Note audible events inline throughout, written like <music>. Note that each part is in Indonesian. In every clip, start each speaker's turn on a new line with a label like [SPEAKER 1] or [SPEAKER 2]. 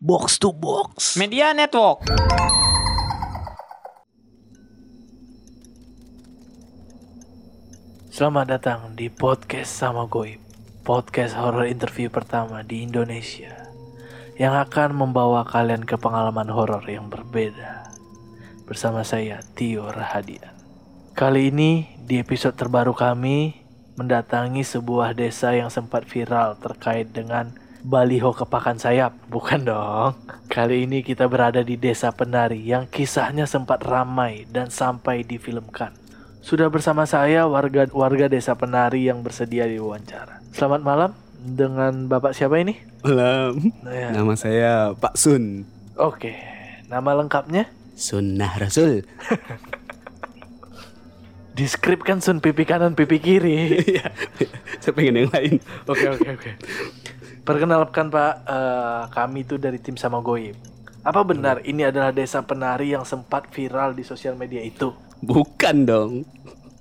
[SPEAKER 1] box to box.
[SPEAKER 2] Media Network.
[SPEAKER 3] Selamat datang di podcast sama Goib, podcast horor interview pertama di Indonesia yang akan membawa kalian ke pengalaman horor yang berbeda. Bersama saya Tio Rahadian. Kali ini di episode terbaru kami mendatangi sebuah desa yang sempat viral terkait dengan baliho kepakan sayap, <laughs> bukan dong. Kali ini kita berada di Desa Penari yang kisahnya sempat ramai dan sampai difilmkan. Sudah bersama saya warga warga Desa Penari yang bersedia diwawancara. Selamat malam dengan Bapak siapa ini?
[SPEAKER 4] Belum.
[SPEAKER 3] Nah, ya.
[SPEAKER 4] Nama saya Pak Sun.
[SPEAKER 3] Oke, nama lengkapnya?
[SPEAKER 4] Sunnah Rasul.
[SPEAKER 3] Di skrip kan Sun pipi kanan pipi kiri.
[SPEAKER 4] Iya. saya pengen yang lain.
[SPEAKER 3] Oke oke oke. Perkenalkan Pak, eh, kami itu dari tim sama Goib. Apa benar
[SPEAKER 4] Hmm.
[SPEAKER 3] ini adalah desa penari yang sempat viral di sosial media itu?
[SPEAKER 4] Bukan dong.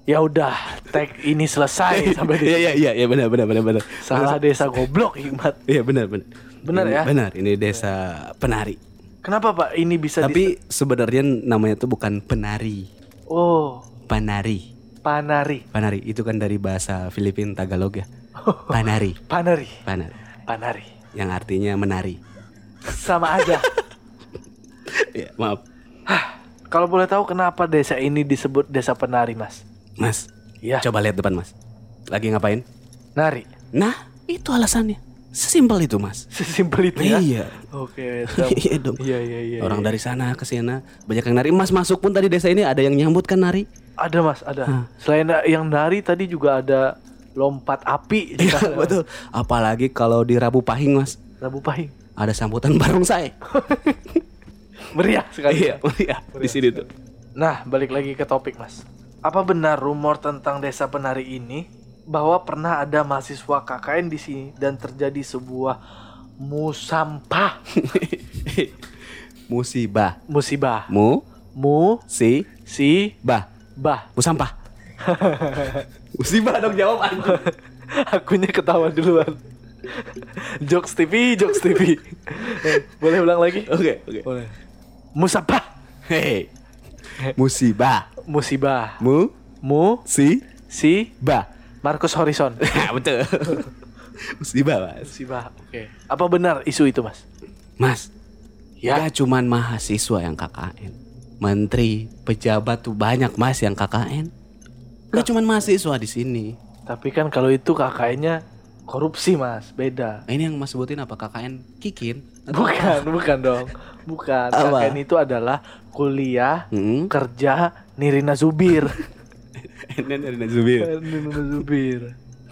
[SPEAKER 3] Ya udah, tag ini selesai
[SPEAKER 4] <laughs>
[SPEAKER 3] Eh, sampai di
[SPEAKER 4] Iya iya iya ya, benar benar benar benar.
[SPEAKER 3] salah desa goblok hikmat.
[SPEAKER 4] Iya benar benar.
[SPEAKER 3] Benar
[SPEAKER 4] Ini-
[SPEAKER 3] ya?
[SPEAKER 4] Benar. Ini desa penari.
[SPEAKER 3] Kenapa Pak ini bisa di-
[SPEAKER 4] Tapi sebenarnya namanya tuh bukan penari.
[SPEAKER 3] Oh,
[SPEAKER 4] Panari.
[SPEAKER 3] panari.
[SPEAKER 4] Panari itu kan dari bahasa Filipin Tagalog ya. Panari.
[SPEAKER 3] Panari.
[SPEAKER 4] Panari.
[SPEAKER 3] Panari.
[SPEAKER 4] Yang artinya menari.
[SPEAKER 3] Sama
[SPEAKER 4] <laughs>
[SPEAKER 3] aja.
[SPEAKER 4] Iya, maaf.
[SPEAKER 3] Kalau boleh tahu kenapa desa ini disebut desa penari, Mas?
[SPEAKER 4] Mas,
[SPEAKER 3] Iya.
[SPEAKER 4] coba lihat depan, Mas. Lagi ngapain?
[SPEAKER 3] Nari.
[SPEAKER 4] Nah, itu alasannya. Sesimpel itu, Mas.
[SPEAKER 3] Sesimpel itu ya.
[SPEAKER 4] Iya.
[SPEAKER 3] Oke,
[SPEAKER 4] <laughs> iya dong.
[SPEAKER 3] Iya, iya, iya.
[SPEAKER 4] Orang dari sana ke sana banyak yang nari. Mas masuk pun tadi desa ini ada yang nyambut kan nari.
[SPEAKER 3] Ada mas, ada.
[SPEAKER 4] Hmm.
[SPEAKER 3] Selain eh, yang nari tadi juga ada lompat api.
[SPEAKER 4] <laughs>
[SPEAKER 3] di
[SPEAKER 4] Iya
[SPEAKER 3] sana.
[SPEAKER 4] <laughs> betul. Apalagi kalau di Rabu Pahing Mas
[SPEAKER 3] Rabu Pahing.
[SPEAKER 4] ada sambutan <laughs> barongsai.
[SPEAKER 3] Meriah sekali.
[SPEAKER 4] Oh, iya, iya. Di sini tuh.
[SPEAKER 3] Nah, balik lagi ke topik mas. Apa benar rumor tentang desa penari ini bahwa pernah ada mahasiswa KKN di sini dan terjadi sebuah musampah
[SPEAKER 4] <laughs> Musibah.
[SPEAKER 3] musibah <laughs>
[SPEAKER 4] Mu
[SPEAKER 3] mu
[SPEAKER 4] si
[SPEAKER 3] si
[SPEAKER 4] bah.
[SPEAKER 3] bah
[SPEAKER 4] <laughs> Musampah. Musibah dong jawab anjing.
[SPEAKER 3] akunya ketawa duluan jokes TV jokes TV boleh ulang lagi
[SPEAKER 4] Oke, oke.
[SPEAKER 3] boleh musabah
[SPEAKER 4] Hei. Musibah.
[SPEAKER 3] musibah
[SPEAKER 4] Mu
[SPEAKER 3] mu
[SPEAKER 4] si
[SPEAKER 3] si
[SPEAKER 4] bah.
[SPEAKER 3] Marcus Horizon
[SPEAKER 4] <laughs> Nah, betul. Musibah, Mas.
[SPEAKER 3] musibah oke apa benar isu itu mas
[SPEAKER 4] Mas,
[SPEAKER 3] Ya.
[SPEAKER 4] ya cuman mahasiswa yang KKN. Menteri, pejabat tuh banyak Mas yang KKN. Lu cuman mahasiswa di sini.
[SPEAKER 3] tapi kan kalau itu kakaknya korupsi mas beda
[SPEAKER 4] Nah, ini yang Mas sebutin apa KKN <laughs> Kikin?
[SPEAKER 3] bukan bukan dong bukan
[SPEAKER 4] Apa?
[SPEAKER 3] KKN itu adalah kuliah
[SPEAKER 4] Hmm.
[SPEAKER 3] kerja
[SPEAKER 4] <laughs>
[SPEAKER 3] Nirina Zubir
[SPEAKER 4] Zubir.
[SPEAKER 3] <laughs> Nirina Zubir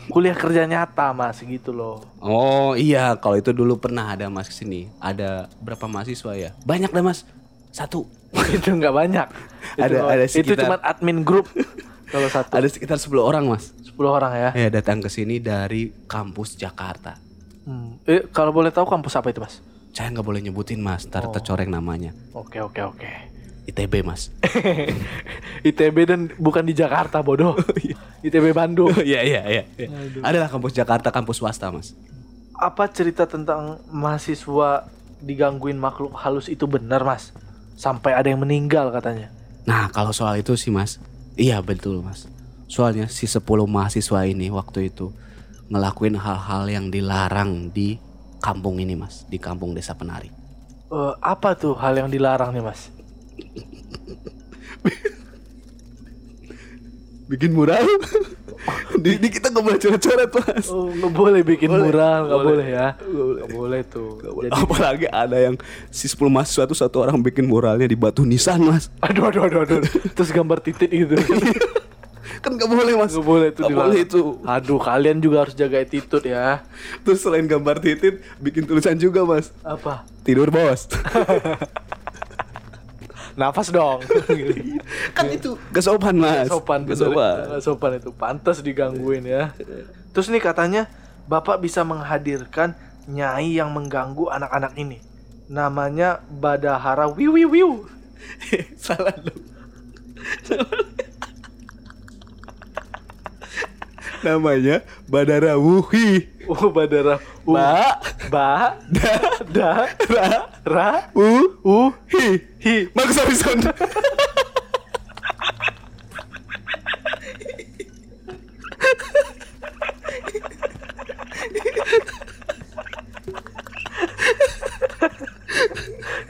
[SPEAKER 3] kuliah kerja nyata mas gitu loh <laughs>
[SPEAKER 4] Oh iya, kalau itu dulu pernah ada Mas kesini. Ada berapa mahasiswa ya? Banyak dah Mas. Satu.
[SPEAKER 3] itu nggak banyak
[SPEAKER 4] Ada-
[SPEAKER 3] nggak-
[SPEAKER 4] ada
[SPEAKER 3] itu
[SPEAKER 4] sekitar-
[SPEAKER 3] cuma admin
[SPEAKER 4] <laughs>
[SPEAKER 3] grup kalau satu
[SPEAKER 4] Ada sekitar 10 orang Mas.
[SPEAKER 3] 10 orang ya
[SPEAKER 4] Ya datang ke sini dari kampus Jakarta.
[SPEAKER 3] Hmm. eh, kalau boleh tahu kampus apa itu mas
[SPEAKER 4] Saya nggak boleh nyebutin Mas, ntar tercoreng namanya.
[SPEAKER 3] oke oke oke
[SPEAKER 4] ITB Mas.
[SPEAKER 3] <laughs> ITB dan bukan di Jakarta bodoh ITB Bandung
[SPEAKER 4] <laughs> Iya iya iya. iya. Adalah kampus Jakarta kampus swasta mas.
[SPEAKER 3] <laughs> apa cerita tentang mahasiswa digangguin makhluk halus itu benar mas sampai ada yang meninggal katanya
[SPEAKER 4] Nah kalau soal itu sih mas, iya betul mas. Soalnya si 10 mahasiswa ini waktu itu ngelakuin hal-hal yang dilarang di kampung ini mas, di kampung desa penari.
[SPEAKER 3] Eh, apa tuh hal yang dilarang nih mas
[SPEAKER 4] Bikin <laughs> mural? di, di kita nggak boleh coret-coret mas.
[SPEAKER 3] oh, nggak boleh bikin
[SPEAKER 4] Boleh,
[SPEAKER 3] mural nggak
[SPEAKER 4] boleh,
[SPEAKER 3] boleh ya
[SPEAKER 4] nggak boleh.
[SPEAKER 3] nggak boleh tuh Jadi- <laughs>
[SPEAKER 4] Apalagi ada yang si 10 mahasiswa itu satu orang bikin muralnya di batu nisan mas.
[SPEAKER 3] aduh aduh aduh aduh terus gambar titik <laughs> gitu
[SPEAKER 4] kan nggak boleh mas.
[SPEAKER 3] nggak boleh itu
[SPEAKER 4] Nggak
[SPEAKER 3] dilarang
[SPEAKER 4] boleh itu.
[SPEAKER 3] aduh kalian juga harus jaga attitude ya
[SPEAKER 4] Terus selain gambar titit, bikin tulisan juga mas.
[SPEAKER 3] apa
[SPEAKER 4] Tidur bos.
[SPEAKER 3] nafas <laughs> dong
[SPEAKER 4] kan itu gak sopan mas
[SPEAKER 3] Ah, Nggak sopan
[SPEAKER 4] gak
[SPEAKER 3] bener.
[SPEAKER 4] sopan
[SPEAKER 3] Nggak sopan itu pantas digangguin ya terus nih katanya bapak bisa menghadirkan nyai yang mengganggu anak-anak ini namanya Badahara Wiwi Wiu
[SPEAKER 4] <laughs> salah lu <laughs> namanya Badara Wuhi
[SPEAKER 3] U Badara Oh, U
[SPEAKER 4] Ba.
[SPEAKER 3] Ba Da Ra Ra
[SPEAKER 4] U
[SPEAKER 3] U
[SPEAKER 4] Hi
[SPEAKER 3] Hi
[SPEAKER 4] Marcus Harrison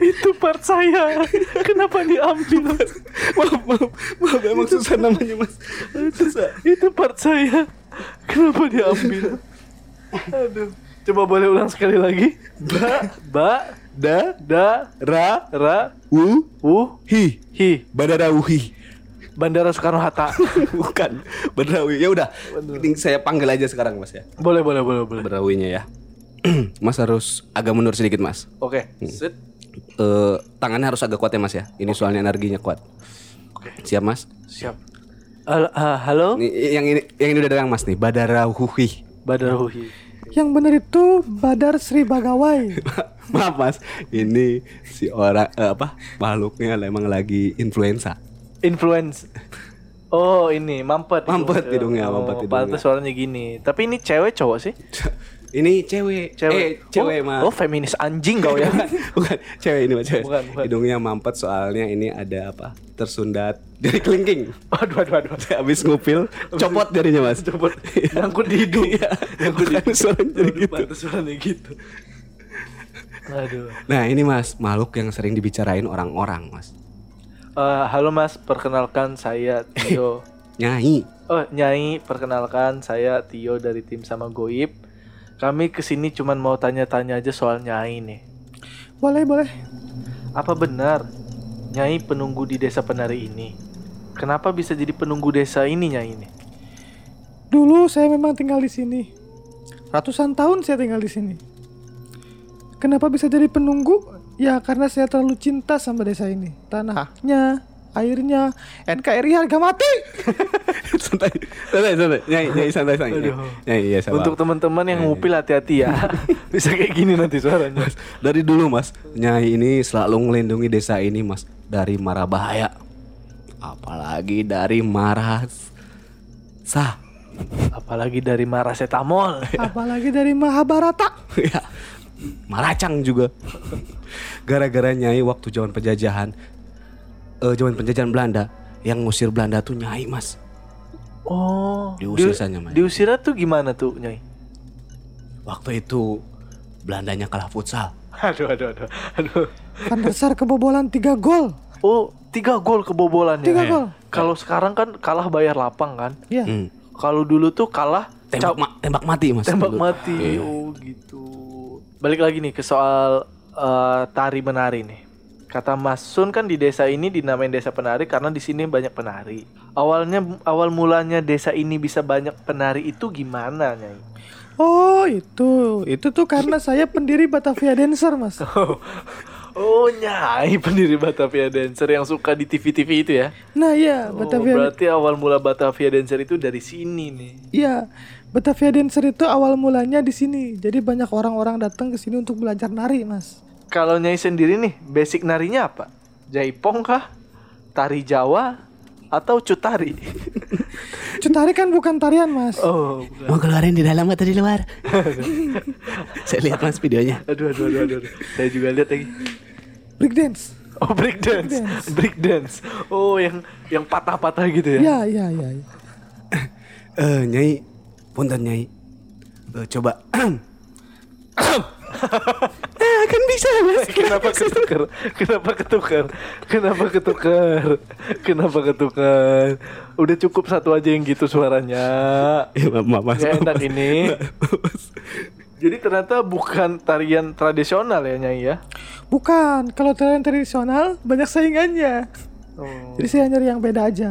[SPEAKER 3] Itu part saya Kenapa diambil
[SPEAKER 4] <laughs> Maaf maaf Maaf emang susah namanya mas Susah
[SPEAKER 3] Itu part saya Kenapa diambil Aduh Coba boleh ulang sekali lagi Ba Ba
[SPEAKER 4] Da
[SPEAKER 3] Da
[SPEAKER 4] Ra
[SPEAKER 3] Ra
[SPEAKER 4] U
[SPEAKER 3] U
[SPEAKER 4] Hi
[SPEAKER 3] Hi
[SPEAKER 4] Bandara Uhi
[SPEAKER 3] Bandara Soekarno-Hatta
[SPEAKER 4] <laughs> Bukan Bandara Uhi Ya udah Ini saya panggil aja sekarang mas ya
[SPEAKER 3] Boleh boleh boleh boleh
[SPEAKER 4] Bandara Uhinya ya <clears throat> Mas harus agak mundur sedikit mas
[SPEAKER 3] Oke
[SPEAKER 4] Hmm.
[SPEAKER 3] Sit
[SPEAKER 4] Eh, Tangannya harus agak kuat ya mas ya Ini soalnya energinya kuat
[SPEAKER 3] Oke.
[SPEAKER 4] Siap mas
[SPEAKER 3] Siap Al- ah,
[SPEAKER 1] Oh.
[SPEAKER 3] Halo
[SPEAKER 4] Nih, yang ini yang ini udah datang mas nih Badara Uhi
[SPEAKER 3] Bandara Uhi
[SPEAKER 1] Yang benar itu Badar Sri Bagawai.
[SPEAKER 4] <laughs> Maaf mas, ini si orang eh, apa makhluknya emang lagi influenza. <laughs>
[SPEAKER 3] Influence. Oh ini mampet.
[SPEAKER 4] Mampet hidungnya,
[SPEAKER 3] Oh,
[SPEAKER 4] mampet hidungnya.
[SPEAKER 3] pantes suaranya gini. Tapi ini cewek cowok sih?
[SPEAKER 4] Ini cewek,
[SPEAKER 3] Cewek.
[SPEAKER 4] eh cewek
[SPEAKER 3] oh,
[SPEAKER 4] mas.
[SPEAKER 3] Oh feminis anjing kau ya.
[SPEAKER 4] <laughs> bukan cewek ini mas, cewek.
[SPEAKER 3] Bukan, bukan.
[SPEAKER 4] Hidungnya mampet soalnya ini ada apa? Tersundat <laughs> jadi kelingking.
[SPEAKER 3] aduh aduh aduh.
[SPEAKER 4] Habis ngupil, copot jadinya mas.
[SPEAKER 3] Copot.
[SPEAKER 4] <laughs>
[SPEAKER 3] Nyangkut di hidung.
[SPEAKER 4] Iya.
[SPEAKER 3] Nyangkut di
[SPEAKER 4] Bukan, suaranya jadi
[SPEAKER 3] <laughs> Aduh,
[SPEAKER 4] gitu.
[SPEAKER 3] Pantes suaranya gitu. Aduh.
[SPEAKER 4] Nah ini mas, makhluk yang sering dibicarain orang-orang mas.
[SPEAKER 3] Eh, halo Mas, perkenalkan saya
[SPEAKER 4] <laughs>
[SPEAKER 3] Tio.
[SPEAKER 4] Nyai,
[SPEAKER 3] Oh Nyai, perkenalkan saya Tio dari tim sama Goib. Kami kesini cuman mau tanya-tanya aja soal Nyai nih.
[SPEAKER 1] Boleh, boleh.
[SPEAKER 3] Apa benar Nyai penunggu di desa penari ini? Kenapa bisa jadi penunggu desa ini Nyai ini?
[SPEAKER 1] Dulu saya memang tinggal di sini. Ratusan tahun saya tinggal di sini. Kenapa bisa jadi penunggu? Ya karena saya terlalu cinta sama desa ini. Tanahnya, airnya, NKRI harga mati.
[SPEAKER 4] <laughs> santai, santai, santai. Nyai, nyai santai, santai.
[SPEAKER 3] Aduh.
[SPEAKER 4] Nyai, iya sabar.
[SPEAKER 3] Untuk teman-teman yang ngupil hati-hati ya. <laughs> bisa kayak gini nanti suaranya.
[SPEAKER 4] Dari dulu mas, Nyai ini selalu melindungi desa ini mas dari mara bahaya, apalagi dari mara sah. <laughs>
[SPEAKER 3] Apalagi dari maracetamol.
[SPEAKER 1] Apalagi dari Mahabharata.
[SPEAKER 4] ya, maracang juga. Gara-gara Nyai waktu zaman penjajahan, eh, zaman penjajahan Belanda, yang ngusir Belanda tuh Nyai mas.
[SPEAKER 3] Oh.
[SPEAKER 4] Diusir
[SPEAKER 3] di-
[SPEAKER 4] saja, Mas.
[SPEAKER 3] Diusirnya tuh gimana tuh Nyai?
[SPEAKER 4] Waktu itu Belandanya kalah futsal.
[SPEAKER 3] Aduh aduh aduh. aduh.
[SPEAKER 1] Van der Sar Kan kebobolan 3 gol.
[SPEAKER 3] Oh, tiga gol kebobolannya.
[SPEAKER 1] Tiga
[SPEAKER 3] ya?
[SPEAKER 1] gol.
[SPEAKER 3] Kalau sekarang kan kalah bayar lapang kan?
[SPEAKER 1] Ya.
[SPEAKER 4] Hmm.
[SPEAKER 3] Kalau dulu tuh kalah
[SPEAKER 4] Tembak,
[SPEAKER 3] cap-
[SPEAKER 4] ma- tembak mati mas.
[SPEAKER 3] tembak
[SPEAKER 4] dulu.
[SPEAKER 3] mati
[SPEAKER 4] Iya.
[SPEAKER 3] oh gitu balik lagi nih ke soal eh, tari menari nih kata Mas Sun kan di desa ini dinamain desa penari karena di sini banyak penari awalnya awal mulanya desa ini bisa banyak penari itu gimana nyai
[SPEAKER 1] Oh itu, itu tuh karena saya pendiri Batavia Dancer mas.
[SPEAKER 3] oh, <laughs> oh nyai pendiri Batavia Dancer yang suka di TV TV itu ya
[SPEAKER 1] Nah ya
[SPEAKER 3] Oh,
[SPEAKER 1] Batavia
[SPEAKER 3] berarti awal mula Batavia Dancer itu dari sini nih
[SPEAKER 1] Iya, Batavia Dancer itu awal mulanya di sini. Jadi banyak orang-orang datang ke sini untuk belajar nari, Mas.
[SPEAKER 3] kalau nyai sendiri nih basic narinya apa jaipong kah tari Jawa atau cutari
[SPEAKER 1] Cutari kan bukan tarian, Mas.
[SPEAKER 3] <laughs> Oh,
[SPEAKER 4] Mau keluarin di dalam atau di
[SPEAKER 3] <laughs>
[SPEAKER 4] luar? Saya lihat mas videonya.
[SPEAKER 3] aduh, aduh, aduh, aduh, aduh. Saya juga lihat lagi.
[SPEAKER 1] Break dance.
[SPEAKER 3] Oh, break dance, break dance. Oh, yang yang patah-patah gitu ya? <laughs>
[SPEAKER 1] Iya, iya, iya. Ya.
[SPEAKER 4] Eh, nyai, punten nyai. Eh, coba.
[SPEAKER 1] Eh, kan bisa, Mas.
[SPEAKER 3] <laughs> Kenapa ketukar? Kenapa ketukar? Kenapa ketukar? Kenapa ketukar? Udah cukup satu aja yang gitu suaranya.
[SPEAKER 4] ya, maaf, maaf, mas.
[SPEAKER 3] Gak enak
[SPEAKER 4] Maaf, <laughs>
[SPEAKER 3] ini.
[SPEAKER 4] mas.
[SPEAKER 3] Jadi ternyata bukan tarian tradisional ya Nyai ya?
[SPEAKER 1] Bukan, kalau tarian tradisional banyak saingannya.
[SPEAKER 3] Oh.
[SPEAKER 1] Jadi saya nyari yang beda aja.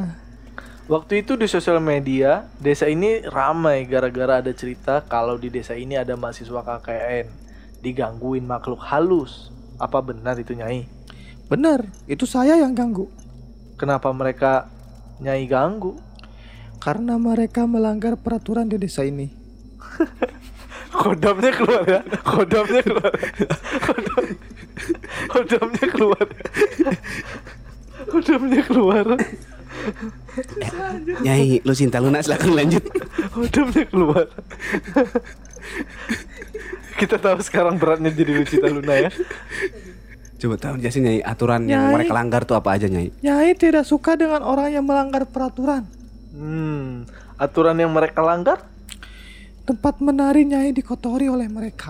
[SPEAKER 3] Waktu itu di sosial media, desa ini ramai gara-gara ada cerita kalau di desa ini ada mahasiswa KKN digangguin makhluk halus. Apa benar itu Nyai?
[SPEAKER 1] Bener, itu saya yang ganggu.
[SPEAKER 3] Kenapa mereka Nyai ganggu?
[SPEAKER 1] Karena mereka melanggar peraturan di desa ini.
[SPEAKER 3] <laughs> Kodamnya keluar ya, kodamnya keluar. Kodam, <laughs> kodamnya keluar. Kodamnya keluar.
[SPEAKER 4] nyai, lu cinta Luna silakan lanjut.
[SPEAKER 3] Kodamnya keluar. Kita tahu sekarang beratnya jadi Lucita Luna ya.
[SPEAKER 4] Coba tahu jelasin Nyai aturan yang
[SPEAKER 1] Nyai.
[SPEAKER 4] mereka langgar tuh apa aja Nyai?
[SPEAKER 1] Nyai tidak suka dengan orang yang melanggar peraturan.
[SPEAKER 3] Hmm, aturan yang mereka langgar,
[SPEAKER 1] Tempat menari Nyai dikotori oleh mereka.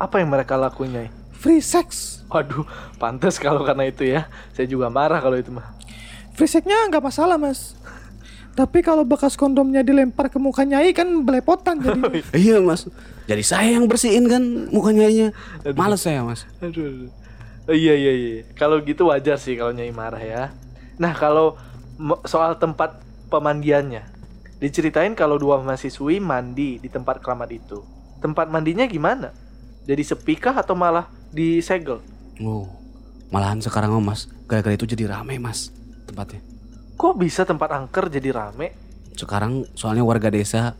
[SPEAKER 3] apa yang mereka lakuin, Nyai?
[SPEAKER 1] Free sex.
[SPEAKER 3] Waduh, pantas kalau karena itu ya. Saya juga marah kalau itu mah.
[SPEAKER 1] Free sexnya nggak masalah mas. Tapi kalau bekas kondomnya dilempar ke muka Nyai kan belepotan jadi.
[SPEAKER 4] Iya mas, jadi saya yang bersihin kan muka nyainya. Males saya mas.
[SPEAKER 3] Aduh. aduh. Eh, Iya iya iya. Kalau gitu wajar sih kalau Nyai marah ya. Nah, kalau mo- soal tempat pemandiannya. Diceritain kalau dua mahasiswi mandi di tempat keramat itu. Tempat mandinya gimana? Jadi sepi kah atau malah disegel?
[SPEAKER 4] Oh, malahan sekarang mah, mas, gara-gara itu jadi rame mas tempatnya.
[SPEAKER 3] Kok bisa tempat angker jadi rame?
[SPEAKER 4] Sekarang soalnya warga desa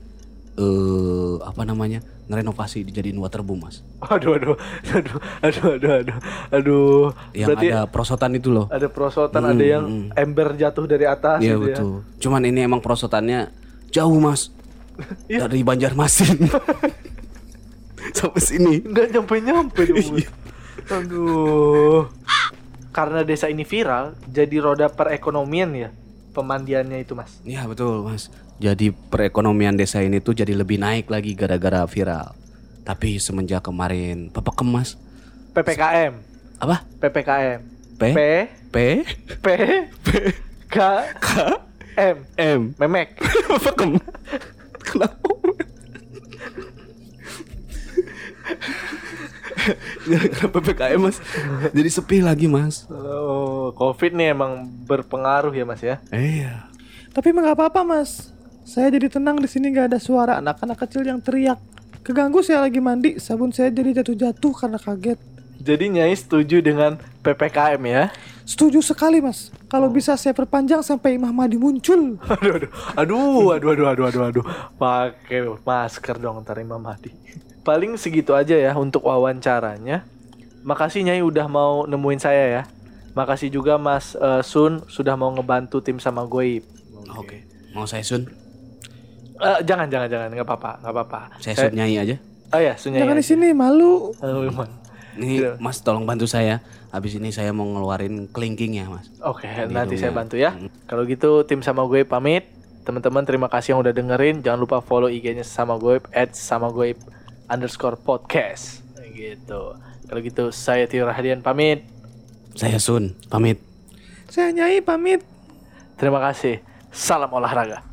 [SPEAKER 4] eh apa namanya ngerenovasi dijadiin waterboom mas.
[SPEAKER 3] Aduh <laughs> aduh aduh aduh aduh aduh aduh.
[SPEAKER 4] Yang
[SPEAKER 3] Berarti
[SPEAKER 4] ada perosotan itu loh.
[SPEAKER 3] ada prosotan,
[SPEAKER 4] Hmm,
[SPEAKER 3] ada yang
[SPEAKER 4] hmm.
[SPEAKER 3] ember jatuh dari atas
[SPEAKER 4] Iya
[SPEAKER 3] gitu ya.
[SPEAKER 4] betul. Cuman ini emang perosotannya jauh
[SPEAKER 3] <laughs>
[SPEAKER 4] mas.
[SPEAKER 3] Iya.
[SPEAKER 4] Dari Banjarmasin sampai sini.
[SPEAKER 3] nggak nyampe nyampe
[SPEAKER 4] <laughs>
[SPEAKER 3] dong
[SPEAKER 4] Iya.
[SPEAKER 3] aduh karena desa ini viral jadi roda perekonomian ya pemandiannya itu mas
[SPEAKER 4] Iya betul mas. Jadi perekonomian desa ini tuh jadi lebih naik lagi gara-gara viral. Tapi semenjak kemarin Papa Kemas
[SPEAKER 3] ppkm
[SPEAKER 4] apa
[SPEAKER 3] ppkm
[SPEAKER 4] P
[SPEAKER 3] p
[SPEAKER 4] P
[SPEAKER 3] p k m
[SPEAKER 4] M
[SPEAKER 3] memek
[SPEAKER 4] Papa Kemas kenapa? Gara-gara PPKM Ya, mas Jadi sepi lagi mas
[SPEAKER 3] oh, covid nih emang berpengaruh ya mas ya
[SPEAKER 4] Iya
[SPEAKER 1] Tapi emang nggak apa-apa mas. Saya jadi tenang di sini nggak ada suara anak-anak kecil yang teriak. Keganggu saya lagi mandi, sabun saya jadi jatuh-jatuh karena kaget.
[SPEAKER 3] jadi nyai setuju dengan ppkm ya
[SPEAKER 1] Setuju sekali mas. Kalau bisa saya perpanjang sampai Imam Mahdi muncul.
[SPEAKER 3] aduh aduh aduh aduh aduh aduh aduh aduh pakai masker dong ntar Imam Mahdi paling segitu aja ya untuk wawancaranya makasih Nyai udah mau nemuin saya ya makasih juga Mas eh, Sun sudah mau ngebantu tim sama Goib
[SPEAKER 4] Oke Mau saya sun?
[SPEAKER 3] Eh, jangan jangan jangan nggak apa-apa nggak apa-apa
[SPEAKER 4] Saya sun nyai aja
[SPEAKER 3] oh ya Sun Nyai
[SPEAKER 1] Jangan di
[SPEAKER 3] aja.
[SPEAKER 1] sini malu.
[SPEAKER 3] Oh, Imam.
[SPEAKER 4] Nih mas tolong bantu saya Habis ini saya mau ngeluarin kelingking ya mas
[SPEAKER 3] Oke,
[SPEAKER 4] Minum
[SPEAKER 3] nanti
[SPEAKER 4] ya.
[SPEAKER 3] saya bantu ya. Kalau gitu tim sama gue pamit. Teman-teman terima kasih yang udah dengerin. Jangan lupa follow IG-nya sama gue at sama gue underscore podcast. Gitu. Kalau gitu saya Tio Rahadian pamit.
[SPEAKER 4] Saya sun Pamit
[SPEAKER 1] Saya Nyai pamit.
[SPEAKER 3] Terima kasih. Salam olahraga.